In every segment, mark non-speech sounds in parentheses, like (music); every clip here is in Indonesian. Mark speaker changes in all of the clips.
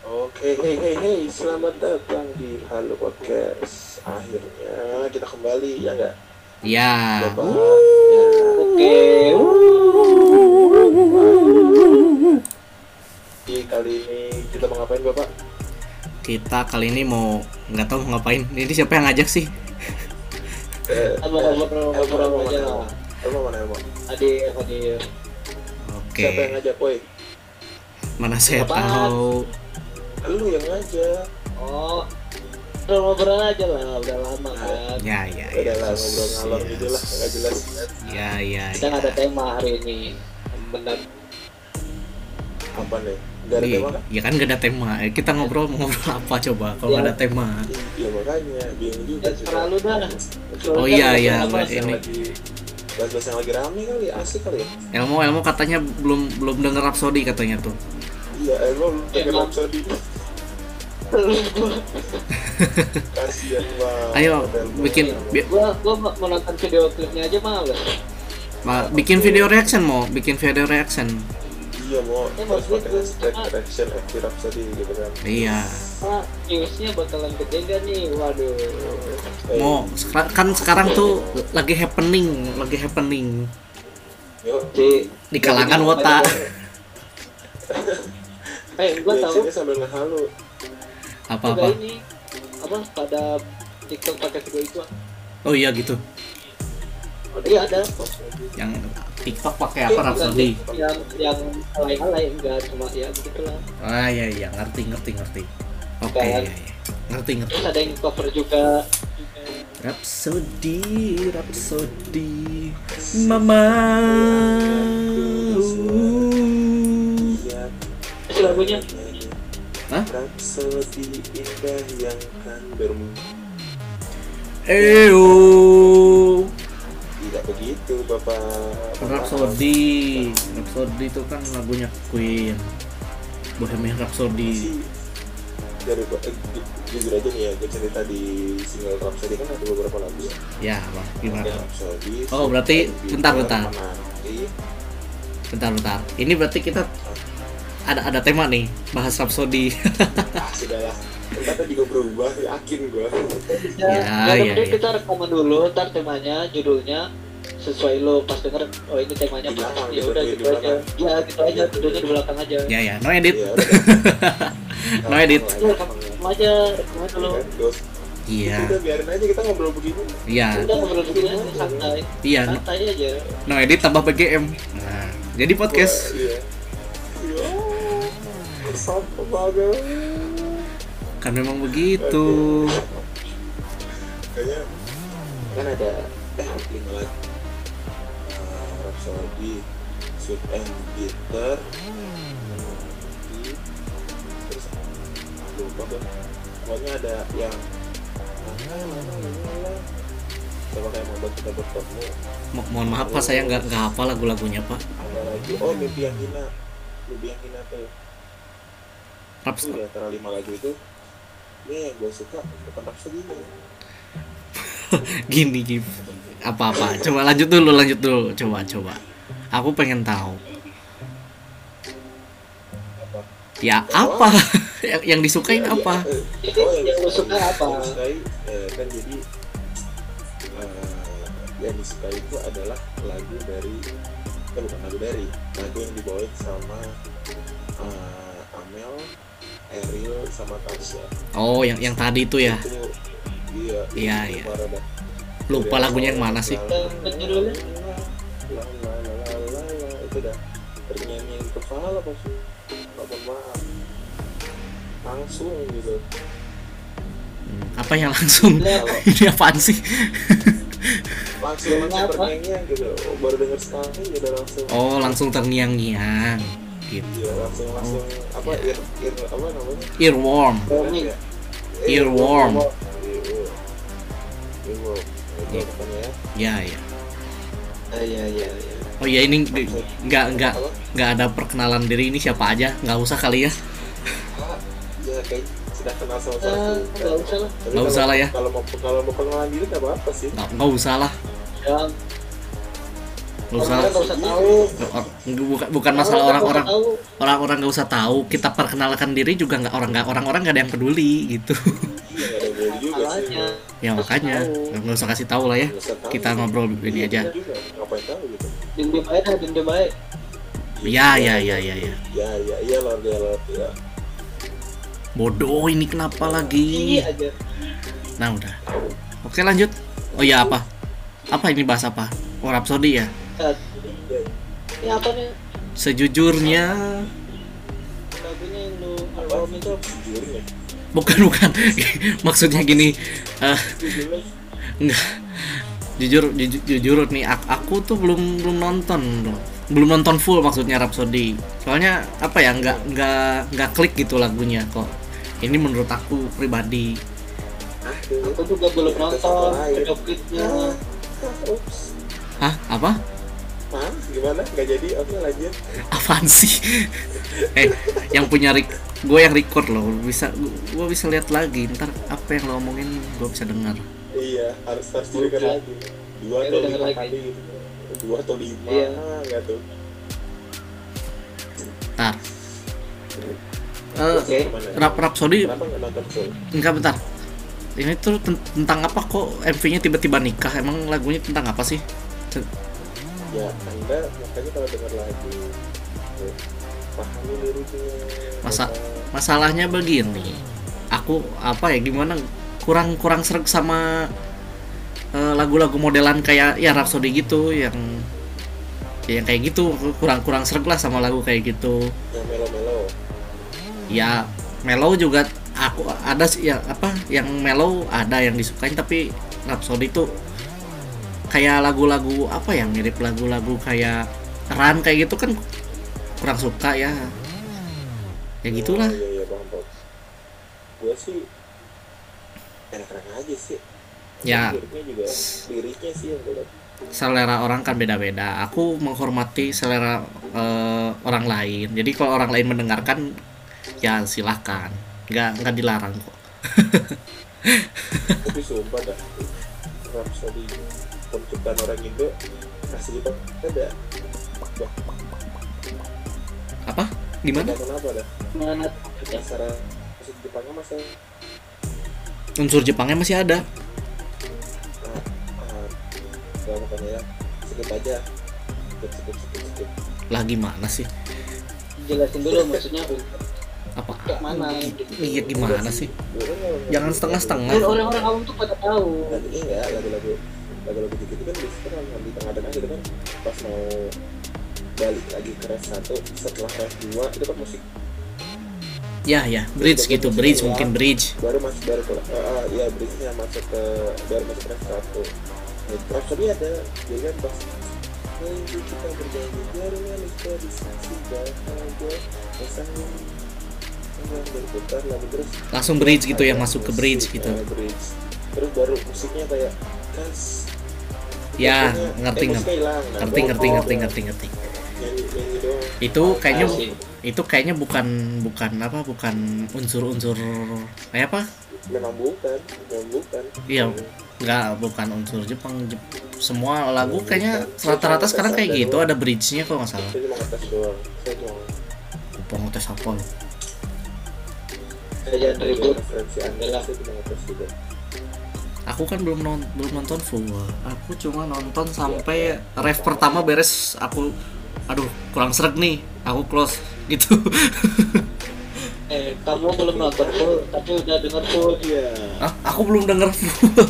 Speaker 1: Oke, hey hey hey, selamat datang di Halo Podcast. Akhirnya kita kembali ya enggak?
Speaker 2: Iya.
Speaker 1: Coba. Ya.
Speaker 3: Oke.
Speaker 1: Jadi kali ini kita mau ngapain Bapak?
Speaker 2: Kita kali ini mau nggak tahu mau ngapain. Ini siapa yang ngajak sih?
Speaker 1: Eh,
Speaker 3: Apa
Speaker 2: Iya.
Speaker 1: Elmo,
Speaker 3: ngobrol ngobrol
Speaker 1: Elmo
Speaker 3: aja
Speaker 1: mana Elmo?
Speaker 3: lah.
Speaker 1: Elmo mana Elmo?
Speaker 3: Hadir hadir.
Speaker 1: Siapa yang
Speaker 2: Oke.
Speaker 1: ngajak, woi?
Speaker 2: Mana saya
Speaker 3: Apaan?
Speaker 2: tahu.
Speaker 1: Lu yang ngajak.
Speaker 3: Oh. Ngobrol ngobrol aja lah udah lama kan.
Speaker 2: Ya ya ya.
Speaker 1: Udah lah ngobrol ngalor
Speaker 2: Yes.
Speaker 1: gitu lah, enggak jelas.
Speaker 2: Ya ya.
Speaker 3: Kita
Speaker 2: ya.
Speaker 3: nggak ada tema hari ini. Benar.
Speaker 1: Apa nih? Enggak ada
Speaker 2: Iya,
Speaker 1: tema kan?
Speaker 2: ya kan gak ada tema. Eh, Kita ngobrol mau ngobrol apa coba kalau nggak ada tema.
Speaker 1: Iya makanya, bingung juga
Speaker 3: Ya
Speaker 1: sih.
Speaker 3: terlalu dah.
Speaker 2: Oh iya
Speaker 3: Terlalu
Speaker 2: iya
Speaker 3: dah.
Speaker 2: nggak ini.
Speaker 1: Lagi bahas-bahas yang lagi rame kali, asik kali ya.
Speaker 2: Elmo Elmo katanya belum belum denger Rhapsody katanya tuh.
Speaker 1: Iya, Elmo lu pengen
Speaker 3: Emang.
Speaker 1: Rhapsody. Kasihan banget.
Speaker 2: Ayo
Speaker 1: Elmo.
Speaker 2: bikin bi-
Speaker 3: (laughs) Gua gua mau mau nonton video klipnya aja males.
Speaker 2: ma- bikin video reaction mau, bikin video reaction.
Speaker 1: Iya mau
Speaker 3: Eh,
Speaker 1: terus
Speaker 3: maksudnya
Speaker 1: pakai
Speaker 3: gue-
Speaker 1: hashtag reaction FT Rhapsody gitu kan.
Speaker 2: Iya.
Speaker 3: Pak, viewsnya bakalan gede gak nih? Waduh.
Speaker 1: Eh,
Speaker 2: Mau sekra- kan sekarang tuh lagi happening, lagi happening
Speaker 1: Yuk.
Speaker 3: Di
Speaker 2: di kalangan wota.
Speaker 3: Eh, gua
Speaker 1: Di
Speaker 3: tahu
Speaker 1: sini sambil ngehalu.
Speaker 2: Apa-apa.
Speaker 3: Enggak ini apa pada TikTok pakai video itu
Speaker 2: Oh iya gitu.
Speaker 3: iya ada
Speaker 2: Yang TikTok pakai apa Rhapsody?
Speaker 3: Iya, yang yang alay-alay enggak cuma ya begitulah
Speaker 2: Ah iya iya ngerti ngerti ngerti. Oke.
Speaker 3: Kan?
Speaker 2: iya, iya. Ngerti ngerti.
Speaker 3: terus ada yang cover juga
Speaker 2: Rhapsody, Rhapsody, Mama.
Speaker 1: Iya.
Speaker 3: terus lagunya
Speaker 2: Hah?
Speaker 1: Rhapsody indah yang kan bermimpi.
Speaker 2: Eyo,
Speaker 1: Tidak begitu Bapak.
Speaker 2: Rhapsody, Rhapsody itu kan lagunya Queen. Bohemian Rhapsody.
Speaker 1: Sih, dari eh, ju- jujur aja nih ya, gue cerita di single Rhapsody kan ada beberapa lagu ya.
Speaker 2: Ya, Bang, gimana?
Speaker 1: Ada Rhapsody,
Speaker 2: Oh, berarti
Speaker 1: Sweet
Speaker 2: bentar,
Speaker 1: Baby,
Speaker 2: bentar.
Speaker 1: Menanti,
Speaker 2: Bentar, bentar. Ini berarti kita ada ada tema nih bahas Rhapsody. (laughs)
Speaker 1: ah sudahlah ternyata juga berubah yakin gua
Speaker 3: ya,
Speaker 2: Ya,
Speaker 3: ya,
Speaker 2: ya, ya.
Speaker 3: kita rekaman dulu ntar temanya judulnya sesuai lo pas denger oh ini temanya
Speaker 1: Di belakang,
Speaker 3: ya udah
Speaker 1: di
Speaker 3: gitu aja
Speaker 1: belakang.
Speaker 3: ya gitu aja judulnya di belakang aja
Speaker 2: ya ya, no edit. (laughs)
Speaker 1: Ya, udah.
Speaker 2: No edit.
Speaker 3: ya rekam rekam aja rekam
Speaker 1: Kan,
Speaker 3: dulu
Speaker 1: dos.
Speaker 2: Iya.
Speaker 1: udah biarin aja kita ngobrol begini
Speaker 2: Iya.
Speaker 3: udah ngobrol begini aja santai
Speaker 2: Iya, no-
Speaker 3: santai aja
Speaker 2: no edit tambah PGM. Nah, jadi podcast.
Speaker 1: Wah, iya Iya. Sampah banget
Speaker 2: Kan memang begitu.
Speaker 1: kayaknya kan ada eh lima lagi Eh, Rhapsody Sweet and Bitter Nanti, terus lupa gua. pokoknya ada yang sama kayak membuat kita bertemu
Speaker 2: Mo- mohon maaf Pak, saya nggak nggak hafal lagu-lagunya Pak.
Speaker 1: ada lagi oh mimpi yang hina mimpi yang hina tuh itu
Speaker 2: Raps-
Speaker 1: di antara lima lagu itu ini yang gue suka bukan Rhapsody
Speaker 2: (laughs) gini gini. Apa-apa. Coba lanjut dulu, lanjut dulu. Coba, coba. Aku pengen tahu.
Speaker 1: apa
Speaker 2: Ya apa? (laughs) yang, yang disukain
Speaker 1: Iya,
Speaker 2: apa?
Speaker 1: iya, iya.
Speaker 3: Jadi eh, yang lu suka apa?
Speaker 1: Yang disukai, eh, kan jadi eh, yang disukai itu adalah lagu dari eh, bukan lagu dari lagu yang dibawain sama eh, Amel, Ariel sama Tasya.
Speaker 2: Oh, yang yang tadi itu ya.
Speaker 1: Itu iya.
Speaker 2: Iya,
Speaker 1: itu
Speaker 2: iya.
Speaker 1: parah dah.
Speaker 2: Lupa
Speaker 1: Dari
Speaker 2: lagunya yang
Speaker 1: awal,
Speaker 2: mana sih?
Speaker 1: la-
Speaker 3: Judulnya?
Speaker 1: la- la- la- la- la- la. itu dah ternyanyi di kepala pasti. Mohon maaf. Langsung gitu.
Speaker 2: Hmm, Apa yang langsung? (laughs)
Speaker 3: Ya.
Speaker 1: Kalau
Speaker 2: Ini apaan sih?
Speaker 1: langsung
Speaker 2: Iya,
Speaker 1: langsung
Speaker 3: Kenapa?
Speaker 1: terngiang gitu baru denger sekali udah langsung
Speaker 2: Oh, langsung terngiang-ngiang. Gitu.
Speaker 1: iya langsung langsung
Speaker 2: Oh,
Speaker 1: apa
Speaker 2: iya.
Speaker 1: ear ear apa namanya
Speaker 2: Earworm.
Speaker 3: Warming.
Speaker 1: Eh, earworm.
Speaker 2: Earworm.
Speaker 1: earworm itu
Speaker 2: Iya.
Speaker 1: namanya ya
Speaker 2: Ya, ya.
Speaker 1: Ah, iya iya iya
Speaker 2: Oh ya ini di- nggak nggak
Speaker 1: Apa?
Speaker 2: nggak ada perkenalan diri ini siapa aja nggak usah kali ya
Speaker 1: Ah, ya kayak sudah kenal sama
Speaker 3: Eh,
Speaker 1: sama
Speaker 3: nggak usah lah
Speaker 1: Tapi kalau-
Speaker 2: Ah, Nggak usah lah ya.
Speaker 1: kalau mau kalau mau pengenalan diri nggak apa apa sih
Speaker 2: nggak nggak usah lah
Speaker 3: ya
Speaker 2: nggak usah
Speaker 3: Orang-orang nggak usah tahu.
Speaker 2: nggak- or- nggak- bukan bukan masalah
Speaker 3: nggak usah
Speaker 2: orang-orang
Speaker 3: tahu.
Speaker 2: orang-orang nggak usah tahu kita perkenalkan diri juga nggak orang nggak orang-orang nggak ada yang peduli gitu (laughs)
Speaker 1: Iya, nggak ada value juga sih.
Speaker 3: Masalahnya.
Speaker 2: ya makanya nggak usah kasih tahu lah ya
Speaker 1: Nggak usah tahu.
Speaker 2: kita ngobrol ini
Speaker 1: Iya,
Speaker 2: aja
Speaker 1: juga. Ngapain tahu gitu?
Speaker 3: Dendam aja dah, dendam aja.
Speaker 2: ya ya ya ya ya
Speaker 1: Ya, ya, iya Lord, ya Lord, ya.
Speaker 2: bodoh ini kenapa lagi
Speaker 3: Iya aja.
Speaker 2: nah udah oke lanjut oh ya apa apa ini bahas apa oh Rhapsody ya
Speaker 3: Cut. Ini apa nih
Speaker 2: sejujurnya
Speaker 3: lagunya yang lu
Speaker 1: Apa ya.
Speaker 3: album itu?
Speaker 1: itu? Jujurnya.
Speaker 2: bukan (laughs) bukan maksudnya gini eh,
Speaker 1: Jujurnya.
Speaker 2: Enggak. Jujur, jujur, jujur nih ak- aku tuh belum belum nonton loh. Belum nonton full maksudnya Rhapsody. Soalnya apa ya nggak nggak nggak klik gitu lagunya kok. Ini menurut aku pribadi.
Speaker 1: Aduh.
Speaker 3: Aku juga belum
Speaker 1: Kita
Speaker 3: nonton.
Speaker 1: sama lain.
Speaker 3: Video klipnya.
Speaker 1: Ah, ah, Ups.
Speaker 2: Hah, apa?
Speaker 1: Hah? Gimana? Nggak jadi? Oke, lanjut.
Speaker 2: Apaan sih? eh, yang punya rek gue yang record loh. Bisa gue bisa lihat lagi. Ntar apa yang lo omongin gue bisa dengar.
Speaker 1: Iya, harus harus dengar
Speaker 3: Udah.
Speaker 1: lagi. Dua
Speaker 3: Ya,
Speaker 1: atau
Speaker 3: udah denger
Speaker 1: lima
Speaker 3: lagi.
Speaker 1: kali gitu. Dua atau lima,
Speaker 3: Iya.
Speaker 1: nggak tuh.
Speaker 2: Ntar. Eh,
Speaker 3: Oke.
Speaker 1: Gimana?
Speaker 2: Rap Rhapsody
Speaker 1: Kenapa nggak nonton full?
Speaker 2: Enggak bentar. Ini tuh ten- tentang apa kok MV-nya tiba-tiba nikah? Emang lagunya tentang apa sih? C-
Speaker 1: Ya, anda makanya kalau dengar lagu, eh, pahami liriknya.
Speaker 2: Masa-
Speaker 1: Karena-
Speaker 2: Masalahnya begini. Aku apa ya gimana kurang kurang sreg sama eh, lagu-lagu modelan kayak ya Rhapsody gitu yang ya, yang kayak gitu kurang kurang sreg lah sama lagu kayak gitu.
Speaker 1: yang melo-melo.
Speaker 2: Ya Mellow juga aku ada sih yang apa yang Mellow ada yang disukain tapi Rhapsody tuh kayak lagu-lagu apa ya mirip lagu-lagu kayak Run kayak gitu kan kurang suka ya ya gitulah
Speaker 1: Iya, iya, paham, paham. Gue sih enak-enak aja sih.
Speaker 2: Ya.
Speaker 1: Liriknya juga, liriknya sih yang gue dapet.
Speaker 2: selera orang kan beda-beda aku menghormati selera eh, orang lain jadi kalau orang lain mendengarkan ya silahkan nggak nggak dilarang kok
Speaker 1: tapi sumpah dah Rhapsody penciptaan orang Indo asli banget ada
Speaker 2: apa gimana
Speaker 1: ada kenapa dah
Speaker 3: Mana?
Speaker 1: dasar musik Jepangnya masa
Speaker 2: unsur Jepangnya masih ada
Speaker 1: ah, ah, gak bukan ya skip aja skip skip skip skip
Speaker 2: lah gimana sih
Speaker 3: Jelasin dulu maksudnya
Speaker 2: apa
Speaker 3: kayak mana gitu.
Speaker 2: iya gimana sih
Speaker 1: Gue kan nggak-
Speaker 2: jangan setengah-setengah
Speaker 3: Orang- Orang-orang awam tuh pada tahu.
Speaker 1: Lagu- enggak lagu-lagu lagu-lagu dikit itu kan biasanya kan di tengah-tengah gitu kan pas mau balik lagi ke ref satu setelah ref dua itu kan musik
Speaker 2: ya ya bridge gitu bridge mungkin bridge
Speaker 1: baru masuk baru ke eh, eh, ya berikutnya masuk ke baru masuk ke satu ya, terus tadi ada dia kan pas Minggu kita berjanji jaringan kita di sisi bahagia Pasang ini Yang berputar lagu terus
Speaker 2: langsung bridge gitu ya
Speaker 1: ada
Speaker 2: masuk ke bridge
Speaker 1: musik,
Speaker 2: gitu
Speaker 1: eh, bridge. Terus baru musiknya kayak kas
Speaker 2: ya
Speaker 1: Musiknya-
Speaker 2: ngerti
Speaker 1: eh,
Speaker 2: ngerti
Speaker 1: musiknya hilang. Nah,
Speaker 2: ngerti
Speaker 1: baru
Speaker 2: ngerti
Speaker 1: ada
Speaker 2: ngerti ngerti ngerti
Speaker 1: nyanyi- nyanyi doang.
Speaker 2: itu kayaknya
Speaker 1: Nah,
Speaker 3: Tahu sih.
Speaker 2: itu kayaknya bukan bukan apa bukan unsur-unsur kayak apa
Speaker 1: Memang bukan Memang bukan
Speaker 2: Iya. nggak bukan unsur Jepang Jep- semua lagu kayaknya rata-rata sekarang kayak gitu ada bridge-nya kalau nggak salah
Speaker 1: Saya cuma ngetes doang Saya cuma
Speaker 2: kupong tes apa lu?
Speaker 3: Saya jangan
Speaker 1: Iya,
Speaker 3: ribut.
Speaker 1: Referensi Anda lah Saya cuma gitu. ngetes juga
Speaker 2: aku kan belum non- belum nonton full aku cuma nonton sampai ref pertama beres aku aduh kurang seret nih aku close (laughs) gitu
Speaker 3: Eh, kamu belum nonton full, tapi udah denger full.
Speaker 1: Iya
Speaker 2: Hah? aku belum denger full (laughs)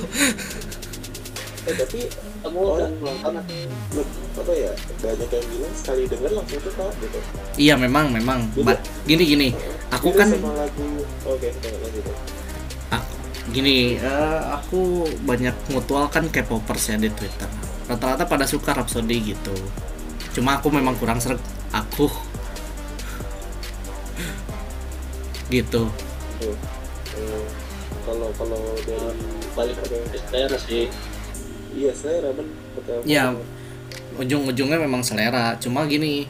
Speaker 1: Eh, tapi
Speaker 3: Kamu udah
Speaker 1: orang
Speaker 3: nonton atau
Speaker 1: apa ya banyak yang bilang sekali denger langsung suka gitu.
Speaker 2: iya memang memang Ba- gini gini aku
Speaker 1: Beda
Speaker 2: kan
Speaker 1: sama lagu oke okay, lanjut.
Speaker 2: Ak- Ah, gini eh, aku banyak mutual kan K-popers ya di Twitter rata-rata pada suka Rhapsody gitu cuma aku memang kurang seret aku (laughs) gitu
Speaker 1: Tuh. Eh, Kalau kalau dari
Speaker 3: balik ke daerah sih.
Speaker 1: iya saya ramen betul.
Speaker 2: Ya. ujung-ujungnya memang selera cuma gini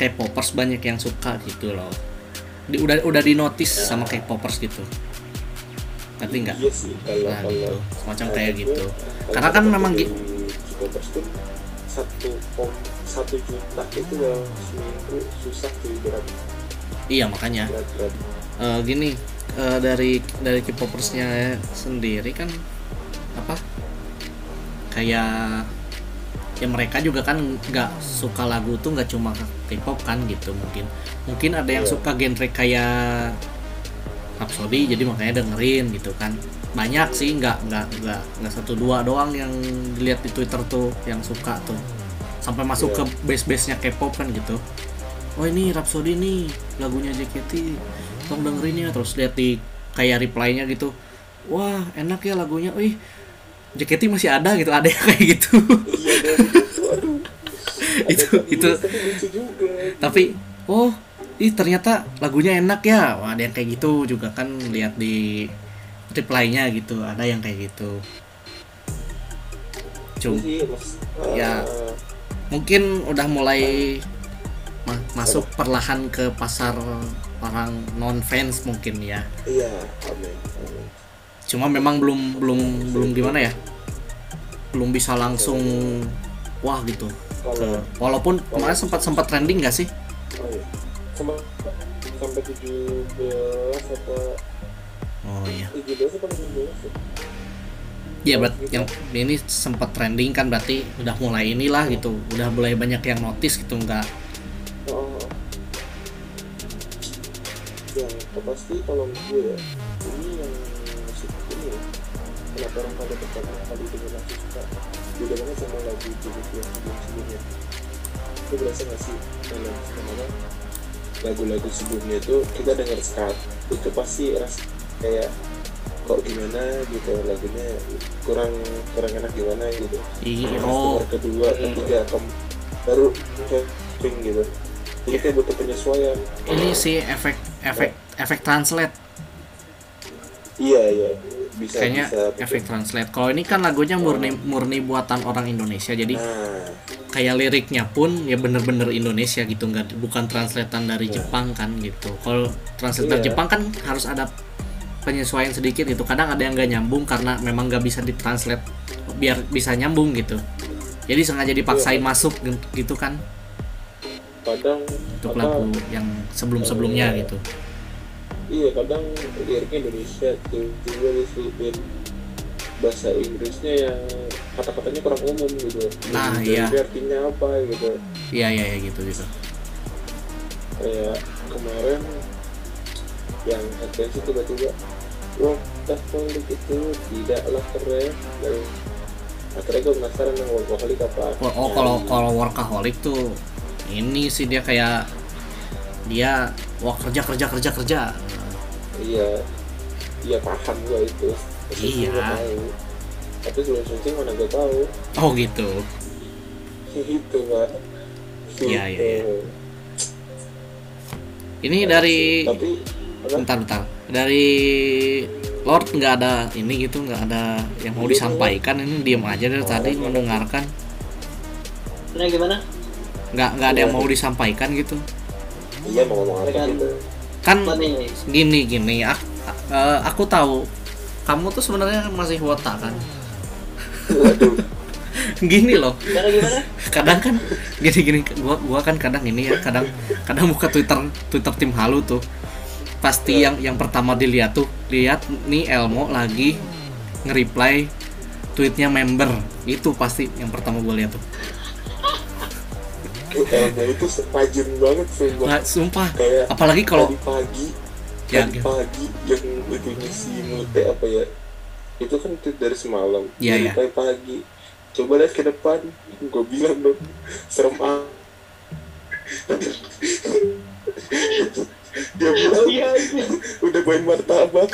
Speaker 2: K-popers banyak yang suka gitu loh Di- udah udah di notice sama K-popers gitu ngerti nggak
Speaker 1: Iya sih kalau
Speaker 2: nah,
Speaker 1: kalau
Speaker 2: gitu. semacam kayak
Speaker 1: kalau
Speaker 2: gitu
Speaker 1: gue-
Speaker 2: Karena kan
Speaker 1: kalau
Speaker 2: memang
Speaker 1: dari
Speaker 2: gi-
Speaker 1: K-popers tuh satu kom satu juta itu dalam seminggu susah cuy berat
Speaker 2: iya makanya
Speaker 1: berat berat
Speaker 2: Eh, gini eh, dari dari K-popersnya sendiri kan apa kayak ya mereka juga kan nggak suka lagu tuh nggak cuma K-pop kan gitu mungkin mungkin ada yang
Speaker 1: Iya.
Speaker 2: suka genre kayak Rhapsody jadi makanya dengerin gitu kan banyak sih nggak nggak nggak nggak satu dua doang yang dilihat di Twitter tuh yang suka tuh sampai
Speaker 1: Iya.
Speaker 2: masuk ke base-base nya K-pop kan gitu oh ini Rhapsody nih lagunya JKT tolong dengerin ya terus lihat di kayak reply-nya gitu wah enak ya lagunya wih JKT masih ada gitu ada yang kayak gitu (laughs)
Speaker 1: iya dan itu aduh ada
Speaker 2: (laughs) Itu-
Speaker 1: yang
Speaker 2: itu-
Speaker 1: bias, tapi lucu juga
Speaker 2: tapi oh ih ternyata lagunya enak ya wah ada yang kayak gitu juga kan lihat di reply-nya gitu ada yang kayak gitu Cuma
Speaker 1: Iya, mas,
Speaker 2: Ya.
Speaker 1: eh,
Speaker 2: mungkin udah mulai ma- masuk perlahan ke pasar orang non fans mungkin ya
Speaker 1: iya amin amin
Speaker 2: cuma memang belum belum belum gimana ya belum bisa langsung wah gitu
Speaker 1: kalau
Speaker 2: ke walaupun kemarin sempat sempat trending gak sih
Speaker 1: oh iya sampai sampai tujuh belas apa
Speaker 2: oh iya
Speaker 1: tujuh belas apa tujuh belas
Speaker 2: ya berarti yang ini sempat trending kan berarti udah mulai inilah gitu udah mulai banyak yang notice gitu nggak
Speaker 1: Oh. Yang pasti kalau gue ya, ini yang musik ini ya. Kenapa orang pada pertama kali dengar lagu suka beda banget sama lagu jenis yang sebelum sebelumnya. Itu berasa nggak sih kalau sebenarnya lagu-lagu sebelumnya itu kita dengar skat itu pasti ras kayak kok gimana gitu lagunya kurang kurang enak gimana gitu.
Speaker 2: Ih,
Speaker 1: Terus
Speaker 2: oh
Speaker 1: dengar kedua, ketiga, kem, baru camping gitu. Jadi kayak butuh penyesuaian.
Speaker 2: ini sih efek efek efek translate
Speaker 1: Iya iya bisa
Speaker 2: kayaknya
Speaker 1: bisa. gitu. betul.
Speaker 2: efek translate kalau ini kan lagunya murni murni buatan orang Indonesia jadi
Speaker 1: Nah
Speaker 2: kayak liriknya pun ya bener-bener Indonesia gitu nggak bukan translatean dari
Speaker 1: Iya.
Speaker 2: Jepang kan gitu kalau translate dari
Speaker 1: Iya.
Speaker 2: Jepang kan harus ada penyesuaian sedikit gitu kadang ada yang nggak nyambung karena memang nggak bisa ditranslate biar bisa nyambung gitu jadi sengaja dipaksain
Speaker 1: Iya.
Speaker 2: masuk gitu kan
Speaker 1: kadang
Speaker 2: untuk
Speaker 1: apa,
Speaker 2: lagu yang sebelum-sebelumnya
Speaker 1: Iya.
Speaker 2: gitu
Speaker 1: Iya kadang liriknya Indonesia tuh juga diselipin bahasa Inggrisnya yang kata-katanya kurang umum gitu.
Speaker 2: Nah,
Speaker 1: Jadi
Speaker 2: iya.
Speaker 1: Artinya apa gitu?
Speaker 2: iya iya iya gitu gitu
Speaker 1: Kayak kemarin yang headband itu tiba-tiba Wah, Daft itu tidaklah keren Dan akhirnya gue penasaran yang kali kapan
Speaker 2: Oh, oh, kalau kalau workaholic tuh ini sih dia kayak dia wah kerja kerja kerja kerja
Speaker 1: Iya Iya paham gue itu Tapi
Speaker 2: Iya.
Speaker 1: gua tahu. Tapi sebelum syuting mana gue tahu (laughs)
Speaker 2: oh gitu
Speaker 1: Gitu pak
Speaker 2: Iya, iya, iya.
Speaker 1: Gitu.
Speaker 2: ini dari
Speaker 1: Iya, Tapi
Speaker 3: Iya.
Speaker 1: apa?
Speaker 2: bentar bentar dari Lord nggak ada ini gitu nggak ada yang
Speaker 3: Iya.
Speaker 2: mau disampaikan ini diem aja dari tadi mendengarkan
Speaker 3: Nah gimana?
Speaker 2: nggak nggak ada yang
Speaker 3: Iya.
Speaker 2: mau disampaikan gitu
Speaker 1: Iya mau ngomong apa
Speaker 3: Dengan-
Speaker 1: gitu
Speaker 2: kan
Speaker 3: Apa nih?
Speaker 2: gini gini aku, aku tahu kamu tuh sebenarnya masih wota kan
Speaker 1: Waduh
Speaker 2: (laughs) gini loh
Speaker 3: Gimana gimana?
Speaker 2: kadang kan gini gini gua gua kan kadang ini ya kadang kadang buka twitter twitter tim halu tuh pasti yang yang pertama dilihat tuh lihat nih Elmo lagi nge-reply tweetnya member itu pasti yang pertama gue lihat tuh
Speaker 1: Elmo itu rajin banget sih gua.
Speaker 2: Nah, sumpah
Speaker 1: Kayak
Speaker 2: apalagi kalau
Speaker 1: tadi pagi
Speaker 2: Ya,
Speaker 1: tadi
Speaker 2: gitu.
Speaker 1: pagi yang itunya si Mute apa ya itu kan tweet dari semalam
Speaker 2: Iya,
Speaker 1: Dari
Speaker 2: iya.
Speaker 1: pagi pagi coba lihat ke depan gue bilang dong serem ah dia bilang
Speaker 3: Iya.
Speaker 1: udah main martabak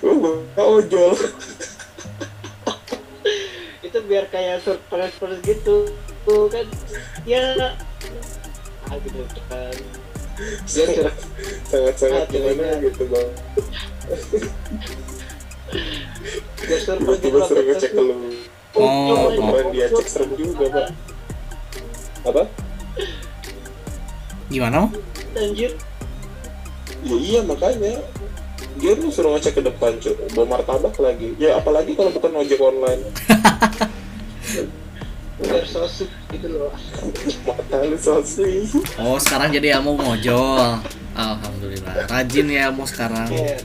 Speaker 1: "Oh, lu mau ojol
Speaker 3: (laughs) itu biar kayak surprise surprise gitu. Tuh kan ya ah gitu kan. Dia curhat
Speaker 1: sangat sangat
Speaker 3: Ah,
Speaker 1: gimana
Speaker 3: jeleknya.
Speaker 1: gitu bang
Speaker 3: dia surprise gitu
Speaker 1: tiba-tiba
Speaker 3: loh.
Speaker 1: serem ngecek ke lu
Speaker 2: Oh,
Speaker 3: coba
Speaker 1: kemarin
Speaker 3: ini.
Speaker 1: dia cek serem juga pak apa
Speaker 2: gimana Om?
Speaker 3: Anjir.
Speaker 1: Ya iya makanya dia lu suruh ngecek ke depan cuy bawa martabak lagi ya apalagi kalau bukan ojek online
Speaker 3: biar sosok gitu loh
Speaker 2: Hmm.
Speaker 1: mata lu sosri
Speaker 2: Oh sekarang jadi Elmo ngojol. Alhamdulillah. Rajin ya Elmo sekarang.
Speaker 3: Iya.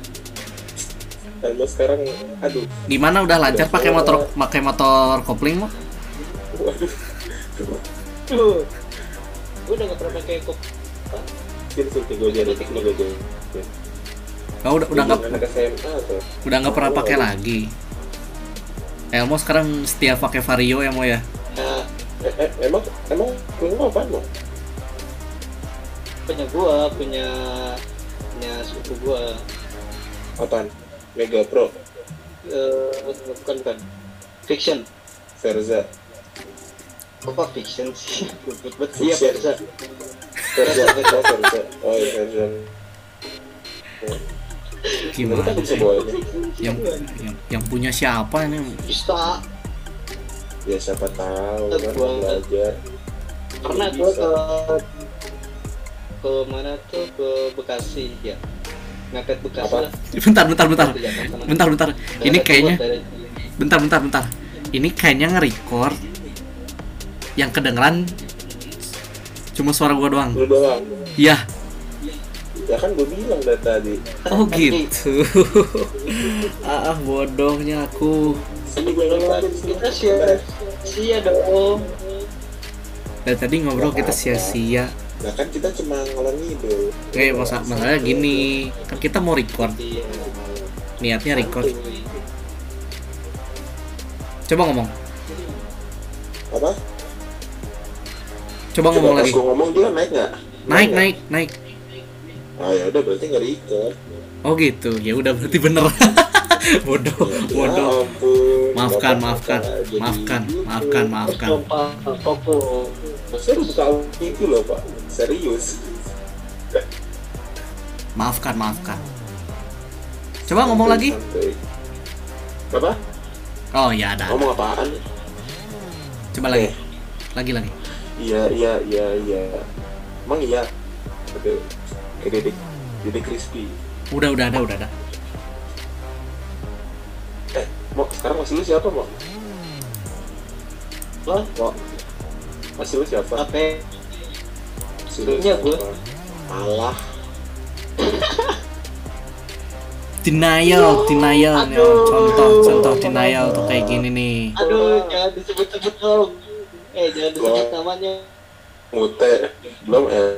Speaker 1: dan lu sekarang aduh
Speaker 2: Gimana udah lancar pakai motor pakai motor kopling mau?
Speaker 1: waduh
Speaker 3: tuh gue udah gak pernah pakai kok
Speaker 1: sini sini gue jadi sini gue jadi
Speaker 2: Kau udah udah nggak
Speaker 1: anak SMA tuh
Speaker 2: udah nggak pernah pakai lagi. Elmo sekarang setia pakai Vario ya Mo ya.
Speaker 3: nah
Speaker 1: Eh, eh, emang emang lu mau apa mau
Speaker 3: punya gue punya punya suku gue
Speaker 1: apaan Mega Pro
Speaker 3: eh bukan bukan fiction
Speaker 1: Verza
Speaker 3: apa fiction sih (laughs) Ribet banget. iya
Speaker 1: Fiction.
Speaker 3: biasa
Speaker 1: Verza (laughs) oh Verza oh iya, Verza Lu
Speaker 2: Gimana?
Speaker 1: kan bisa bawa ini
Speaker 2: Yang yang, yang punya siapa ini?
Speaker 3: bisa
Speaker 1: ya siapa tahu kan
Speaker 3: Gua-
Speaker 1: belajar
Speaker 3: pernah gue ke ke mana tuh ke Bekasi ya ngangkat Bekasi
Speaker 1: Apa?
Speaker 3: lah Iya,
Speaker 2: Bentar bentar bentar.
Speaker 3: Ke Jakarta lah.
Speaker 2: Bentar bentar. Ini
Speaker 3: Daerah
Speaker 2: kayaknya
Speaker 3: Bogor, daerah-
Speaker 2: bentar bentar bentar ini kayaknya nge-record yang kedengeran cuma suara gua doang
Speaker 1: lu doang
Speaker 2: ya
Speaker 1: ya kan gue bilang dari tadi
Speaker 2: oh gitu (laughs) ah ah, bodohnya aku
Speaker 1: sini gue ngeliatin sini
Speaker 3: kita share sia dong
Speaker 2: dari tadi ngobrol kita sia-sia
Speaker 1: nah kan kita cuma ngalor ngidul
Speaker 2: kayak Iya, masa masalahnya gini kan kita mau record
Speaker 3: iya
Speaker 2: niatnya record coba ngomong
Speaker 1: apa
Speaker 2: coba ngomong
Speaker 1: pas
Speaker 2: lagi
Speaker 1: gua ngomong dia naik nggak
Speaker 2: naik
Speaker 1: nggak?
Speaker 2: naik naik
Speaker 1: ah ya udah berarti nggak
Speaker 2: (laughs)
Speaker 1: diikat
Speaker 2: oh gitu ya udah berarti bener (laughs) bodoh
Speaker 1: Ya
Speaker 2: bodoh
Speaker 1: ampun.
Speaker 2: maafkan
Speaker 1: Bapak
Speaker 2: maafkan
Speaker 1: bakal jadi
Speaker 2: maafkan
Speaker 1: gitu.
Speaker 2: maafkan
Speaker 3: terus
Speaker 2: maafkan
Speaker 3: lupa toko
Speaker 1: Saya udah buka audio itu loh pak serius
Speaker 2: maafkan maafkan coba ngomong lagi
Speaker 1: Santai. apa
Speaker 2: oh ya ada
Speaker 1: ngomong apaan
Speaker 2: coba lagi lagi lagi
Speaker 1: iya iya iya iya emang iya ada kayak dedek dedek crispy
Speaker 2: udah udah ada udah ada
Speaker 1: eh mau sekarang masih lu siapa mau
Speaker 3: lo
Speaker 1: mau masih lu siapa
Speaker 3: apa
Speaker 1: masih lu
Speaker 3: Iya, gua.
Speaker 1: Allah
Speaker 2: denial denial nih,
Speaker 3: aduh.
Speaker 2: contoh contoh denial tuh kayak gini nih
Speaker 3: aduh jangan disebut-sebut dong eh jangan disebut
Speaker 1: Gua-
Speaker 3: namanya
Speaker 1: mute belum eh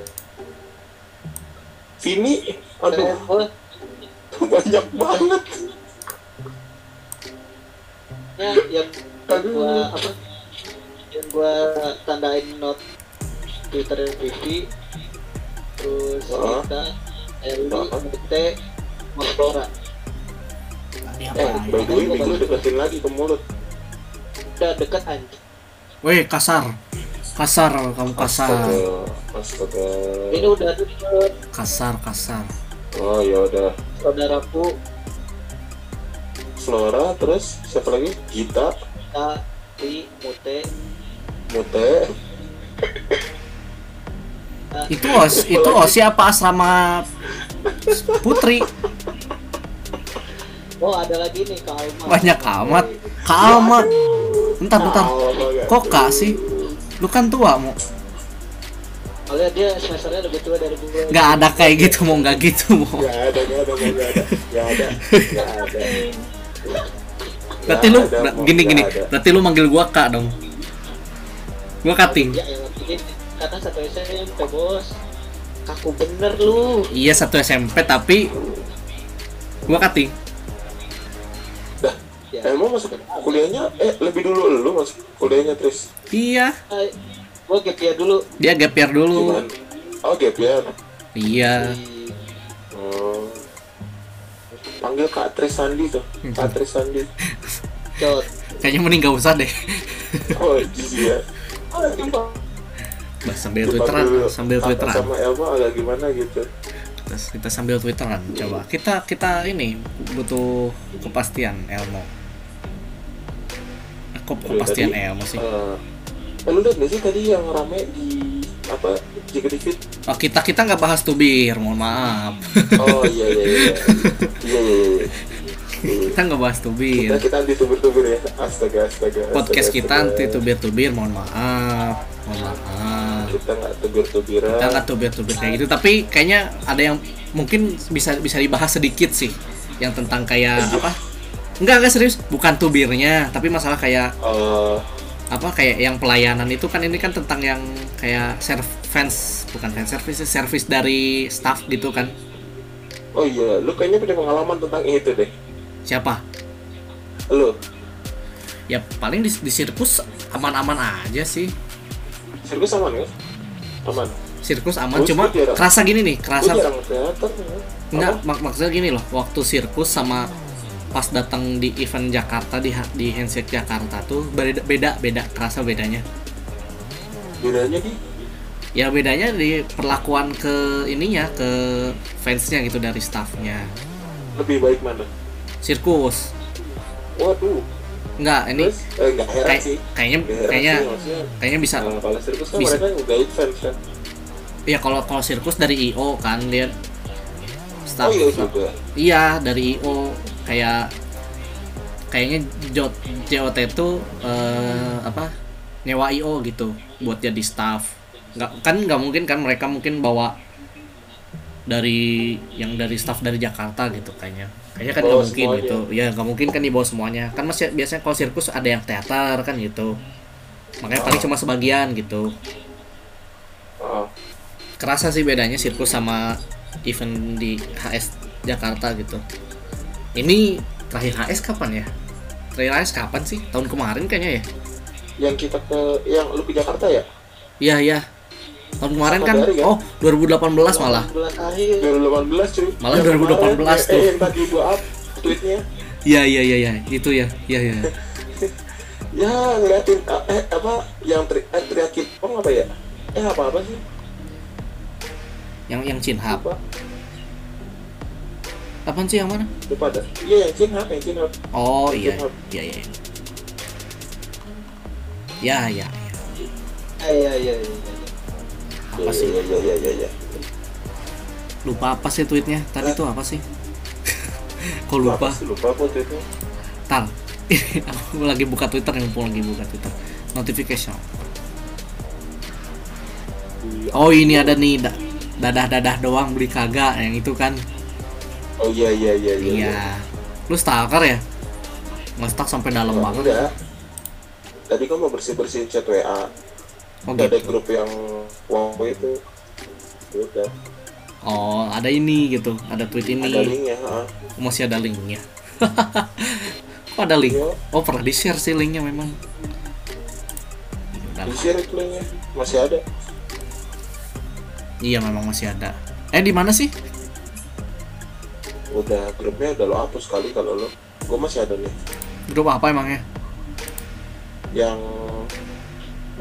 Speaker 1: sini aduh (laughs)
Speaker 3: Kenapa?
Speaker 1: banyak banget
Speaker 3: ya yang gua apa yang gua tandain note Twitter Vivi terus
Speaker 1: Oh.
Speaker 3: kita Eli
Speaker 1: Oh.
Speaker 3: BT Mostora
Speaker 2: Ini
Speaker 1: eh
Speaker 2: apa
Speaker 1: by the way minggu deketin lagi ke mulut
Speaker 3: udah deket anjing
Speaker 2: weh kasar kasar kamu kasar
Speaker 1: astaga astaga
Speaker 3: ini udah deket
Speaker 2: kasar kasar
Speaker 1: oh ya udah
Speaker 3: saudaraku
Speaker 1: Flora terus siapa lagi Gita
Speaker 3: kita Li Mute
Speaker 1: Mute
Speaker 2: itu os itu osi apa asrama putri
Speaker 3: oh ada lagi nih Kak Alma
Speaker 2: banyak amat kalmat bentar bentar
Speaker 1: Oh,
Speaker 2: kok kak sih lu kan tua mau
Speaker 3: soalnya dia semesternya lebih tua dari gua
Speaker 2: nggak ada kayak gitu mau nggak gitu mau
Speaker 1: nggak ada nggak ada nggak ada nggak ada nggak ada
Speaker 2: berarti lu
Speaker 1: Nggak ada,
Speaker 2: ber- gini
Speaker 1: nggak
Speaker 2: gini
Speaker 1: ada.
Speaker 2: berarti lu manggil gua kak dong gua kating
Speaker 3: ya yang ini kata satu SMP bos kaku bener lu
Speaker 2: iya satu SMP tapi gua kating
Speaker 1: dah
Speaker 3: ya
Speaker 1: emang masuk kuliahnya eh lebih dulu lu masuk kuliahnya Tris
Speaker 2: iya
Speaker 3: eh, gua gap ya dulu
Speaker 2: dia gap year dulu
Speaker 1: gimana oh gap year
Speaker 2: iya
Speaker 3: di
Speaker 1: oh panggil Kak Tris Sandi tuh Kak Tris
Speaker 2: (laughs)
Speaker 1: Sandi
Speaker 3: Jod.
Speaker 2: kayaknya mending gak usah deh
Speaker 1: oh iya
Speaker 2: Bah, sambil twitteran sambil
Speaker 1: Kakak
Speaker 2: twitteran
Speaker 1: sama Elma agak gimana gitu
Speaker 2: Terus kita sambil twitteran coba kita kita ini butuh kepastian Elmo Kok kepastian Elmo sih
Speaker 1: Eh, eh, lu lihat nggak sih tadi yang rame di apa JKT
Speaker 2: oh, kita kita nggak bahas tubir mohon maaf
Speaker 1: Oh iya iya iya iya iya iya.
Speaker 2: (laughs) kita nggak bahas
Speaker 1: kita
Speaker 2: tubir
Speaker 1: kita anti tubir-tubir ya astaga astaga astaga,
Speaker 2: podcast kita
Speaker 1: astaga.
Speaker 2: anti tubir tubir mohon maaf mohon maaf
Speaker 1: kita nggak tubir-tubiran
Speaker 2: kita nggak tubir-tubir kayak gitu tapi kayaknya ada yang mungkin bisa bisa dibahas sedikit sih yang tentang kayak apa enggak enggak serius bukan tubirnya tapi masalah kayak
Speaker 1: Eh,
Speaker 2: apa kayak yang pelayanan itu kan ini kan tentang yang kayak serv fans bukan fan service sih, service dari staff gitu kan
Speaker 1: oh iya lu kayaknya punya pengalaman tentang itu deh
Speaker 2: siapa
Speaker 1: lu
Speaker 2: ya paling di, di sirkus aman-aman aja sih
Speaker 1: sirkus aman ya aman
Speaker 2: sirkus aman
Speaker 1: Terus
Speaker 2: cuma
Speaker 1: lu jarang-
Speaker 2: kerasa gini nih kerasa
Speaker 1: Gue jarang kelihatan ya.
Speaker 2: Enggak,
Speaker 1: Apa?
Speaker 2: mak maksudnya gini loh, waktu sirkus sama pas datang di event Jakarta di ha- di handshake Jakarta tuh beda beda beda kerasa bedanya.
Speaker 1: bedanya di
Speaker 2: Ya bedanya di perlakuan ke ininya ke fansnya gitu dari staffnya.
Speaker 1: lebih baik mana
Speaker 2: Sirkus.
Speaker 1: waduh
Speaker 2: Enggak, ini
Speaker 1: terus eh, nggak heran
Speaker 2: kayak
Speaker 1: sih
Speaker 2: kayaknya
Speaker 1: Nggak heran
Speaker 2: kayaknya
Speaker 1: sih, maksudnya
Speaker 2: kayaknya bisa
Speaker 1: Nah, kalau sirkus kan
Speaker 2: Bisa.
Speaker 1: mereka udah fans kan
Speaker 2: ya kalau kalau sirkus dari IO kan dia
Speaker 1: oh
Speaker 2: staff
Speaker 1: iya juga
Speaker 2: Iya dari IO kayak kayaknya J- JOT itu eh, apa nyewa IO gitu buat jadi staff nggak kan nggak mungkin kan mereka mungkin bawa dari yang dari staff dari Jakarta gitu kayaknya kayaknya kan nggak
Speaker 1: Bawa
Speaker 2: mungkin
Speaker 1: semuanya.
Speaker 2: gitu ya nggak mungkin kan dibawa semuanya kan masih biasanya kalau sirkus ada yang teater kan gitu makanya paling cuma sebagian gitu
Speaker 1: Ah,
Speaker 2: kerasa sih bedanya sirkus sama event di HS Jakarta gitu. Ini terakhir HS kapan ya? Terakhir HS kapan sih? Tahun kemarin kayaknya ya?
Speaker 1: yang kita ke yang lu ke Jakarta ya
Speaker 2: Iya iya. Tahun kemarin kan?
Speaker 1: Tahun kemarin ya?
Speaker 2: Oh 2018 malah.
Speaker 3: 18 akhir
Speaker 1: 2018 cuy
Speaker 2: Malah
Speaker 1: Yang
Speaker 2: 2018
Speaker 1: kemarin,
Speaker 2: tuh.
Speaker 1: eh, yang tadi gua up tweetnya
Speaker 2: Iya iya iya iya. Itu ya. Iya iya.
Speaker 1: ya ngeliatin ah, eh apa yang teri eh, teriakin oh apa ya eh apa apa sih
Speaker 2: yang yang Cinhap.
Speaker 1: lupa
Speaker 2: Apaan sih yang mana?
Speaker 1: lupa dah iya yang chin up yang chin up
Speaker 2: Oh iya.
Speaker 1: Cinhap.
Speaker 2: Iya iya. Ya ya.
Speaker 3: Ah, iya iya iya
Speaker 2: Apa sih?
Speaker 1: iya iya iya iya iya.
Speaker 2: Lupa apa sih tweetnya? Tadi tuh apa sih? (laughs) Kok
Speaker 1: Lu apa
Speaker 2: lupa?
Speaker 1: sih? lupa apa tweetnya
Speaker 2: Tar, (laughs) aku lagi buka Twitter nih, mumpung lagi buka Twitter. Notification.
Speaker 1: Iya.
Speaker 2: Oh ini ada nih da- dadah-dadah doang beli kagak yang itu kan?
Speaker 1: oh iya iya iya iya iya.
Speaker 2: Iya. Lu stalker ya? Ngestak sampai dalam
Speaker 1: Wah,
Speaker 2: banget.
Speaker 1: enggak tadi kan mau bersih bersihin chat WA
Speaker 2: Oh
Speaker 1: ada
Speaker 2: gitu.
Speaker 1: grup yang wow itu udah
Speaker 2: Oh ada ini gitu, ada tweet ini.
Speaker 1: ada linknya ah
Speaker 2: Masih ada linknya. (laughs) Kok ada link?
Speaker 1: Iya.
Speaker 2: Oh pernah di share sih linknya memang. Ini udah
Speaker 1: di
Speaker 2: lah.
Speaker 1: share itu linknya masih ada
Speaker 2: Iya memang masih ada. Eh di mana sih?
Speaker 1: udah grupnya udah lo hapus kali kalau lo gue masih ada nih
Speaker 2: Grup apa emangnya?
Speaker 1: yang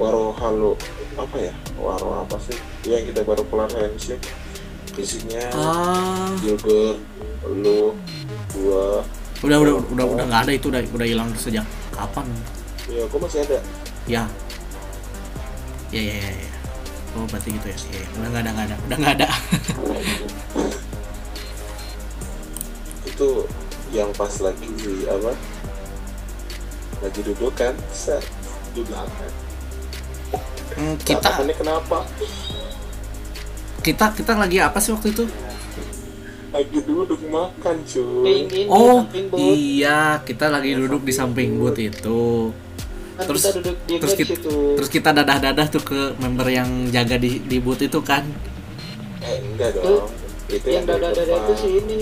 Speaker 1: waro halo apa ya waro apa sih Iya, yang kita baru kelar handshake isinya
Speaker 2: Ah.
Speaker 1: Gilbert lu gua
Speaker 2: udah udah udah udah nggak ada itu udah udah hilang sejak kapan
Speaker 1: ya gua masih ada
Speaker 2: ya ya ya ya, ya. oh berarti gitu ya Iya, iya. udah nggak ada nggak ada udah nggak ada
Speaker 1: itu yang pas lagi di apa lagi duduk kan set di belakang Nah,
Speaker 2: Hmm, (laughs) kita
Speaker 1: ini kenapa
Speaker 2: kita kita lagi apa sih waktu itu
Speaker 1: lagi duduk makan cuy
Speaker 3: Samping ini,
Speaker 2: oh
Speaker 3: samping bot.
Speaker 2: iya kita lagi duduk di samping booth itu
Speaker 3: Kan
Speaker 2: terus-
Speaker 3: kita duduk di
Speaker 2: terus
Speaker 3: kan
Speaker 2: kita-
Speaker 3: situ.
Speaker 2: terus kita dadah dadah tuh ke member yang jaga di di booth itu kan
Speaker 1: eh enggak
Speaker 3: Tuh,
Speaker 1: dong itu
Speaker 3: yang
Speaker 1: dari
Speaker 3: dada dada Iya, itu
Speaker 1: depan.
Speaker 3: si ini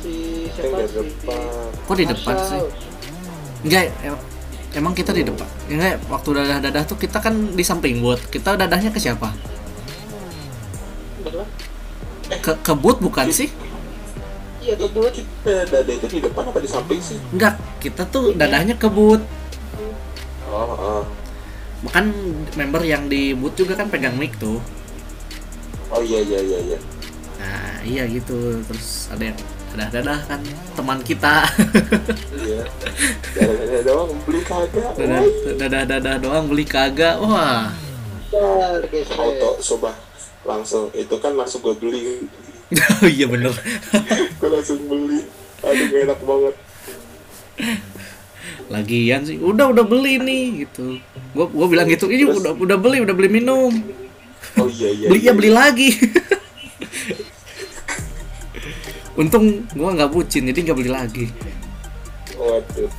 Speaker 3: si
Speaker 1: itu yang
Speaker 3: siapa
Speaker 1: dari
Speaker 3: sih?
Speaker 1: depan
Speaker 2: kok di depan sih
Speaker 3: Marshall.
Speaker 2: enggak em- emang kita di depan enggak waktu dadah dadah tuh kita kan di samping booth kita dadahnya ke siapa
Speaker 3: Betul.
Speaker 2: ke ke booth bukan sih
Speaker 3: Iya tuh buat
Speaker 1: kita dada itu di depan apa di samping sih
Speaker 2: Enggak, kita tuh dadahnya ke boot.
Speaker 1: oh, oh.
Speaker 2: Kan member yang di boot juga kan pegang mic tuh.
Speaker 1: Oh iya iya iya iya.
Speaker 2: Nah, iya gitu. Terus ada yang dadah-dadah kan teman kita. (laughs)
Speaker 3: (laughs)
Speaker 1: Iya. Gara-gara doang beli kagak. woi.
Speaker 2: Dadah- Dadah-dadah doang beli kagak. Wah. (laughs)
Speaker 3: Bentar, guys.
Speaker 1: Auto coba langsung itu kan langsung gue beli. (laughs)
Speaker 2: iya bener. (laughs)
Speaker 1: Gue langsung beli. Aduh gak enak banget.
Speaker 2: lagian sih udah udah beli nih gitu gua gua bilang gitu ini
Speaker 1: Terus?
Speaker 2: udah udah beli udah beli minum
Speaker 1: oh iya iya
Speaker 2: beli
Speaker 1: iya,
Speaker 2: ya beli lagi (laughs) untung gua nggak bucin jadi nggak beli lagi
Speaker 1: Waduh.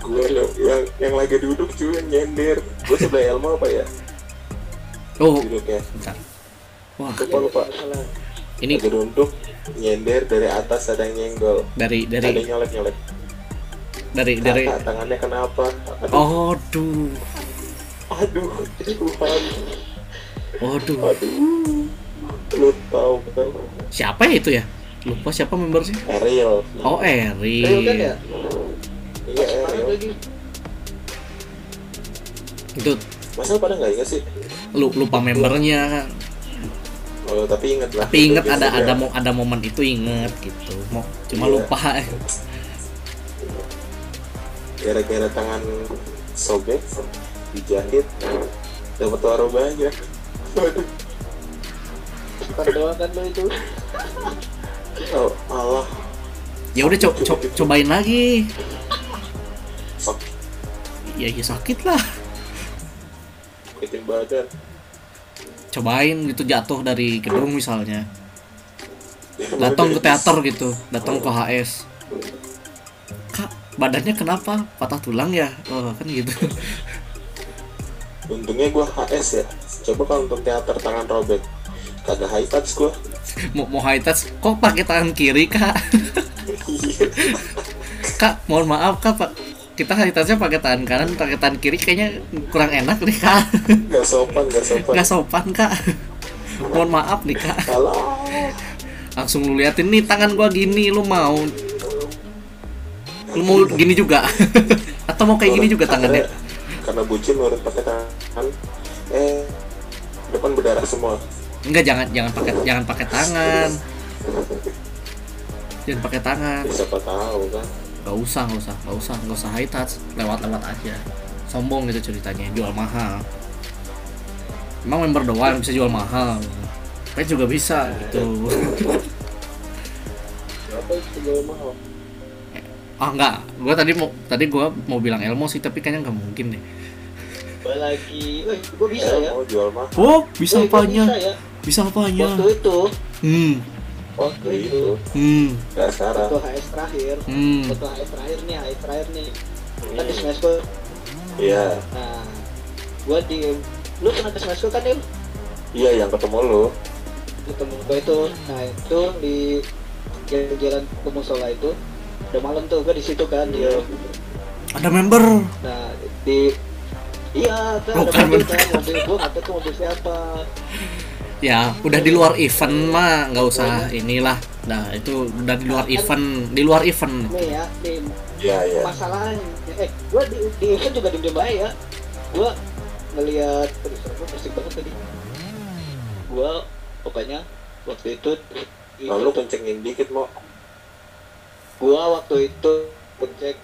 Speaker 1: Gue yang, yang, yang lagi duduk cuy yang nyender. Gue sebelah Elmo apa ya?
Speaker 2: oh
Speaker 1: Duduknya.
Speaker 2: bentar wah
Speaker 1: Lupa lupa.
Speaker 3: Salah.
Speaker 2: ini
Speaker 1: Lagi duduk nyender dari atas ada yang nyenggol.
Speaker 2: dari
Speaker 1: Ada
Speaker 2: dari
Speaker 1: yang nyolek nyolek.
Speaker 2: dari dari
Speaker 1: Kakak, tangannya kenapa? Aduh.
Speaker 2: oh duh Oh.
Speaker 1: Aduh. Tuhan.
Speaker 2: Waduh,
Speaker 1: Aduh. Lu tau kan?
Speaker 2: siapa ya itu ya? Lupa siapa membernya?
Speaker 1: Ariel.
Speaker 2: Oh,
Speaker 3: Real kan ya?
Speaker 2: Eri.
Speaker 1: Iya
Speaker 3: Parah
Speaker 1: Ariel.
Speaker 3: lagi.
Speaker 2: Itu
Speaker 1: Masa lu pada nggak inget sih?
Speaker 2: lu- lupa membernya.
Speaker 1: Oh, tapi inget lah.
Speaker 2: Tapi inget
Speaker 1: Udah
Speaker 2: ada
Speaker 1: biasa
Speaker 2: ada
Speaker 1: ya.
Speaker 2: mo- ada momen itu inget gitu. Mau cuma
Speaker 1: Iya.
Speaker 2: lupa.
Speaker 1: gara-gara tangan sobek dijahit dapat waro banyak waduh
Speaker 3: Bukan doang kan lo itu.
Speaker 1: (laughs) oh, Allah
Speaker 2: Ya udah co- co- cobain lagi.
Speaker 1: sok
Speaker 2: Ya ya sakit lah.
Speaker 1: bikin badan
Speaker 2: Cobain gitu jatuh dari gedung misalnya. Datang ke teater gitu, datang ke HS. Kak, badannya kenapa? Patah tulang ya? Oh, kan gitu.
Speaker 1: untungnya gua HS ya coba kalau untuk teater tangan robek kagak high touch gua
Speaker 2: Mau mau high touch kok pakai tangan kiri, Kak? kak mohon maaf kak pak kita haritasnya pakai tangan kanan pakai tangan kiri kayaknya kurang enak nih kak
Speaker 1: nggak sopan nggak sopan
Speaker 2: nggak sopan kak mohon maaf nih kak
Speaker 1: salah
Speaker 2: langsung lu liatin nih tangan gua gini lu mau lu mau gini juga (laughs) atau mau kayak gini juga tangannya
Speaker 1: karena bucin nurut pakai tangan eh depan berdarah semua
Speaker 2: enggak jangan jangan pakai jangan pakai tangan jangan pakai tangan
Speaker 1: Ya, siapa tahu kan
Speaker 2: nggak usah nggak usah nggak usah nggak usah high touch lewat lewat aja sombong gitu ceritanya jual mahal emang member doang bisa jual mahal saya juga bisa gitu (laughs)
Speaker 1: apa itu gak mahal
Speaker 2: ah nggak gue tadi mau tadi gue mau bilang Elmo sih tapi kayaknya nggak mungkin deh
Speaker 3: Gue lagi. Eh, gue bisa
Speaker 1: Eh,
Speaker 3: ya.
Speaker 1: mau jual mahal
Speaker 2: oh bisa
Speaker 3: Eh, gua
Speaker 2: apanya
Speaker 3: Bisa
Speaker 2: Iya.
Speaker 3: ya.
Speaker 2: bisa apanya
Speaker 3: Waktu itu,
Speaker 2: hmm
Speaker 1: waktu itu
Speaker 3: itu.
Speaker 2: hmm
Speaker 1: nggak sekarang
Speaker 3: waktu HS terakhir,
Speaker 2: hmm
Speaker 3: waktu HS terakhir nih, HS terakhir nih. Kan di smash School.
Speaker 1: Iya,
Speaker 3: Nah, gue di lu pernah ke smash School kan Im?
Speaker 1: iya yang ketemu lu.
Speaker 3: Di temen gue itu nah itu di jalan-jalan ke musola itu udah malam tuh gue di situ kan
Speaker 2: Iya.
Speaker 3: dia
Speaker 2: ada member
Speaker 3: nah di iya kan ada
Speaker 2: Bukan
Speaker 3: mobil
Speaker 2: bener.
Speaker 3: kan mobil gue nggak tahu tuh mobil siapa
Speaker 2: ya udah di luar event mah nggak usah inilah nah itu udah di luar event di luar event
Speaker 3: nih ya nih
Speaker 1: Iya, iya.
Speaker 3: masalahnya eh gue di di event juga diem-diem aja ya gue ngeliat terus gue pusing banget tadi gue pokoknya waktu itu
Speaker 1: Lalu kencengin dikit mau.
Speaker 3: gua waktu itu ngecek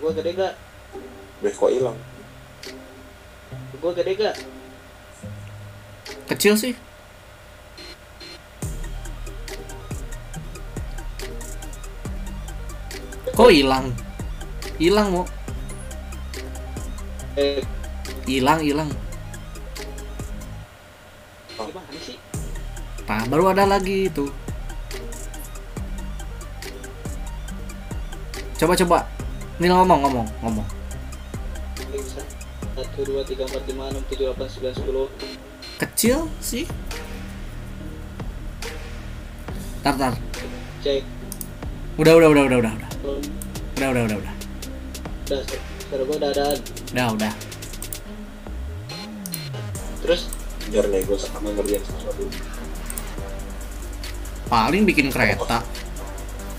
Speaker 3: gua gede gak?
Speaker 1: Beh kok hilang?
Speaker 3: gua gede gak?
Speaker 2: kecil sih kok hilang hilang mau
Speaker 3: eh
Speaker 2: hilang hilang
Speaker 3: gimana sih?
Speaker 2: nah baru ada lagi itu coba coba Nil ngomong ngomong ngomong
Speaker 3: Ini bisa. satu dua tiga empat lima enam tujuh delapan sembilan sepuluh
Speaker 2: kecil sih tar tar
Speaker 3: cek
Speaker 2: udah udah udah udah udah udah
Speaker 3: um,
Speaker 2: udah udah udah udah
Speaker 3: udah sekarang gua udah ada
Speaker 2: udah udah
Speaker 3: terus
Speaker 1: Biar nego sama ngerjain sesuatu.
Speaker 2: paling bikin kereta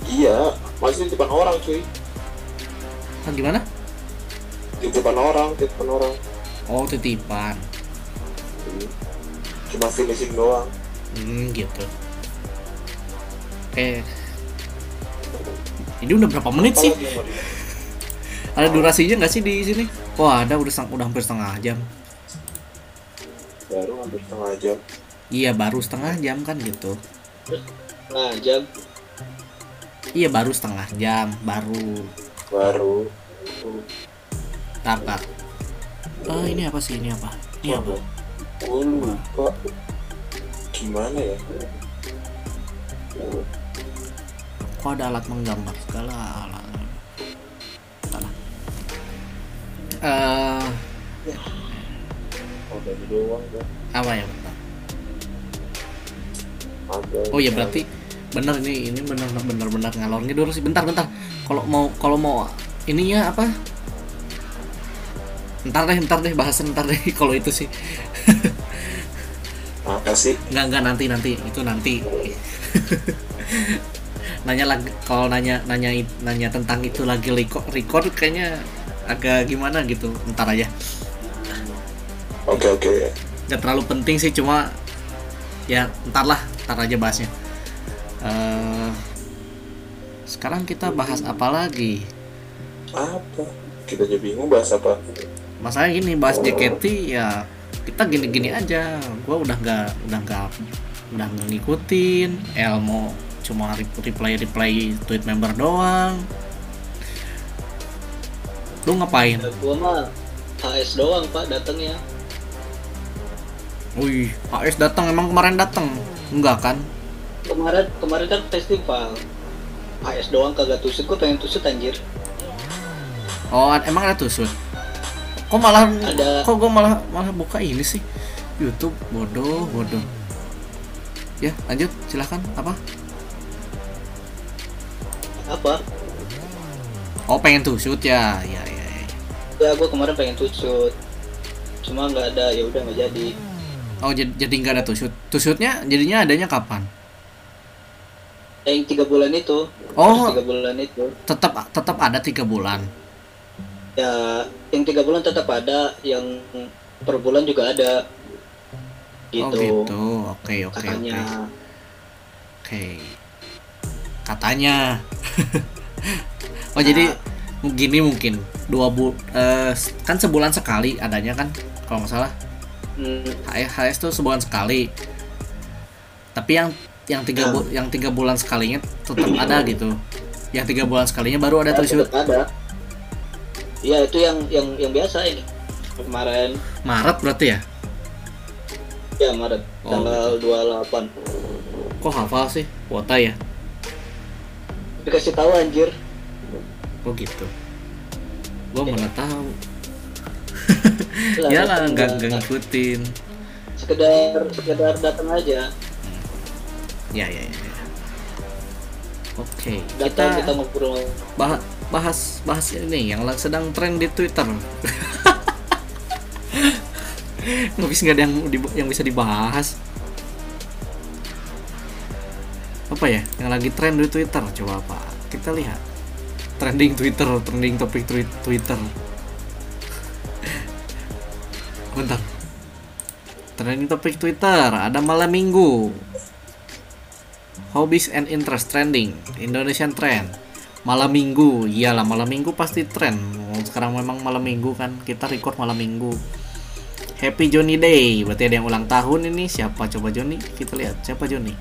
Speaker 1: Iya, masih di depan orang cuy.
Speaker 2: ah, gimana
Speaker 1: Di depan orang, di depan orang.
Speaker 2: oh titipan
Speaker 1: Hmm. Cuma finishing doang.
Speaker 2: Hmm, gitu. Eh. Ini udah berapa menit sih?
Speaker 1: Apalagi yang mau di-
Speaker 2: Ada durasinya nggak sih di sini? Wah, ada udah sang- udah hampir setengah jam.
Speaker 1: Baru hampir setengah jam.
Speaker 2: Iya, baru setengah jam kan gitu.
Speaker 3: nah jam
Speaker 2: iya baru setengah jam baru
Speaker 1: baru
Speaker 2: tapak Eh ini apa sih ini apa
Speaker 1: Iya,
Speaker 2: ini apa
Speaker 1: gue lupa gimana ya
Speaker 2: kok ada alat menggambar segala alat Entahlah. eh
Speaker 1: oh dari doang kan
Speaker 2: apa ya bentar
Speaker 1: ada
Speaker 2: oh ya berarti bener ini ini bener bener bener ngalor ngidul sih bentar bentar kalau mau kalau mau ininya apa ntar deh ntar deh bahasan ntar deh (laughs) kalau itu sih
Speaker 1: apa sih
Speaker 2: nggak nggak nanti nanti itu nanti (laughs) nanya lagi kalau nanya nanya nanya tentang itu lagi record, record kayaknya agak gimana gitu ntar aja
Speaker 1: oke oke ya.
Speaker 2: nggak terlalu penting sih cuma ya ntar lah ntar aja bahasnya eh sekarang kita bahas apa lagi
Speaker 1: apa kita jadi bingung bahas apa
Speaker 2: masalah gini bahas JKT ya kita gini-gini aja gua udah nggak udah nggak udah nggak ngikutin Elmo cuma rep- reply reply tweet member doang lu ngapain?
Speaker 3: Ya, gua mah HS doang pak datangnya
Speaker 2: Wih, HS datang emang kemarin datang? Enggak kan?
Speaker 3: kemarin kemarin kan festival HS doang kagak tusuk gua pengen tusuk anjir
Speaker 2: Oh, ad- emang ada tusuk? Kok malah
Speaker 3: Ada.
Speaker 2: kok gua malah malah buka ini sih? YouTube bodoh, bodoh. Ya, lanjut silahkan apa?
Speaker 3: apa
Speaker 2: Oh, pengen tusuk ya. Ya, ya, ya.
Speaker 3: ya gua kemarin pengen tusuk cuma nggak ada ya udah nggak jadi
Speaker 2: Oh, jadi jadi nggak ada tusut. Tusutnya jadinya adanya kapan?
Speaker 3: yang tiga bulan itu
Speaker 2: Oh.
Speaker 3: tiga bulan itu
Speaker 2: Tetap tetap ada tiga bulan.
Speaker 3: ya yang tiga bulan tetap ada yang per bulan juga ada gitu,
Speaker 2: Oh gitu. Oke, oke, oke.
Speaker 3: katanya
Speaker 2: Oke. Katanya. (laughs) oh, jadi
Speaker 3: Nah.
Speaker 2: gini mungkin dua bu eh, kan sebulan sekali adanya kan kalau nggak salah
Speaker 3: Hmm,
Speaker 2: HS tuh sebulan sekali. Tapi yang yang tiga bu- yang tiga bulan sekalinya tetap ada gitu. Yang tiga bulan sekalinya baru ada
Speaker 3: tetap
Speaker 2: tusut.
Speaker 3: ada ya itu yang yang yang biasa ini kemarin
Speaker 2: Maret berarti ya?
Speaker 3: ya Maret
Speaker 2: Oh,
Speaker 3: tanggal 28
Speaker 2: Kok hafal sih? Wota ya?
Speaker 3: dikasih tahu anjir
Speaker 2: Kok gitu? Gue mana tahu.
Speaker 3: Lah,
Speaker 2: Ya lah,
Speaker 3: datang
Speaker 2: nggak
Speaker 3: nggak-
Speaker 2: nggak ngikutin.
Speaker 3: sekedar sekedar datang aja
Speaker 2: Ya ya ya. ya. Oke,
Speaker 3: datang
Speaker 2: kita,
Speaker 3: kita ngobrol
Speaker 2: bah- bahas bahas ini yang la- sedang tren di Twitter. (laughs) Nggak bisa nggak ada yang di- yang bisa dibahas. Apa ya? Yang lagi tren di Twitter coba apa? Kita lihat. Trending Twitter, trending topik twi- Twitter. Bentar. Trending topik Twitter ada malam minggu. Hobbies and interest trending Indonesian trend malam minggu iyalah malam minggu pasti trend sekarang memang malam minggu kan kita record malam minggu Happy Johnny Day berarti ada yang ulang tahun ini siapa coba Johnny kita lihat siapa Johnny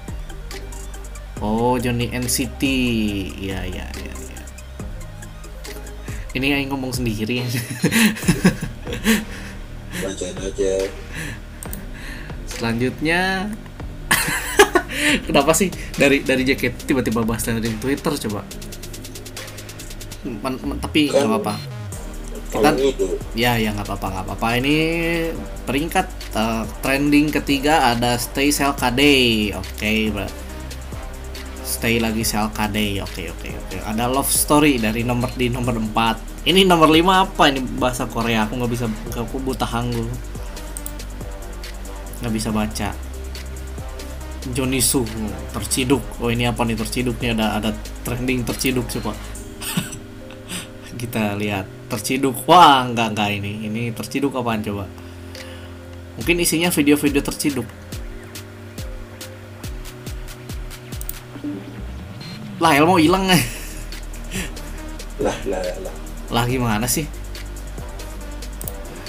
Speaker 2: Oh Johnny NCT iya iya iya iya. ini yang ngomong sendiri (laughs)
Speaker 1: bacain aja
Speaker 2: selanjutnya (laughs) kenapa sih dari dari JKT tiba-tiba bahas trending Twitter coba Men- men- Hmm, tapi nggak apa-apa
Speaker 1: kalau
Speaker 2: Kita-
Speaker 1: itu
Speaker 2: ya ya nggak apa-apa nggak apa-apa ini peringkat eh, trending ketiga ada stay sell KD oke ber- stay lagi sell KD oke oke oke ada love story dari nomor di nomor 4 ini nomor 5 apa ini bahasa Korea aku nggak bisa aku buta hangul nggak bisa baca Johnny Su terciduk oh ini apa nih terciduk nih ada ada trending terciduk coba kita lihat terciduk wah nggak nggak ini ini terciduk apaan coba mungkin isinya video-video terciduk lah Elmo hilang (laughs)
Speaker 1: lah lah lah
Speaker 2: lah gimana sih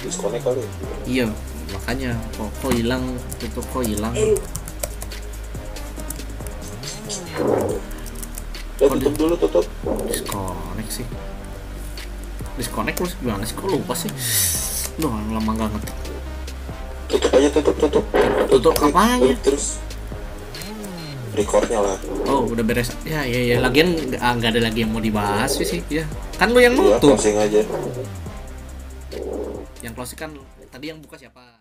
Speaker 1: disconnect kali Ya,
Speaker 2: iya makanya kok kok hilang itu kok hilang
Speaker 1: Ya
Speaker 2: Kode.
Speaker 1: tutup dulu tutup.
Speaker 2: disconnect sih disconnect terus gimana sih kok lupa sih Duh, lama nggak ngetik
Speaker 1: Tutup aja tutup tutup.
Speaker 2: Tutup apanya?
Speaker 1: Tutup terus. Recordnya lah.
Speaker 2: oh udah beres ya ya ya lagian nggak nggak ada lagi yang mau dibahas sih sih ya kan lu yang
Speaker 1: Iya,
Speaker 2: nutup
Speaker 1: closing aja.
Speaker 2: yang closing kan tadi yang buka siapa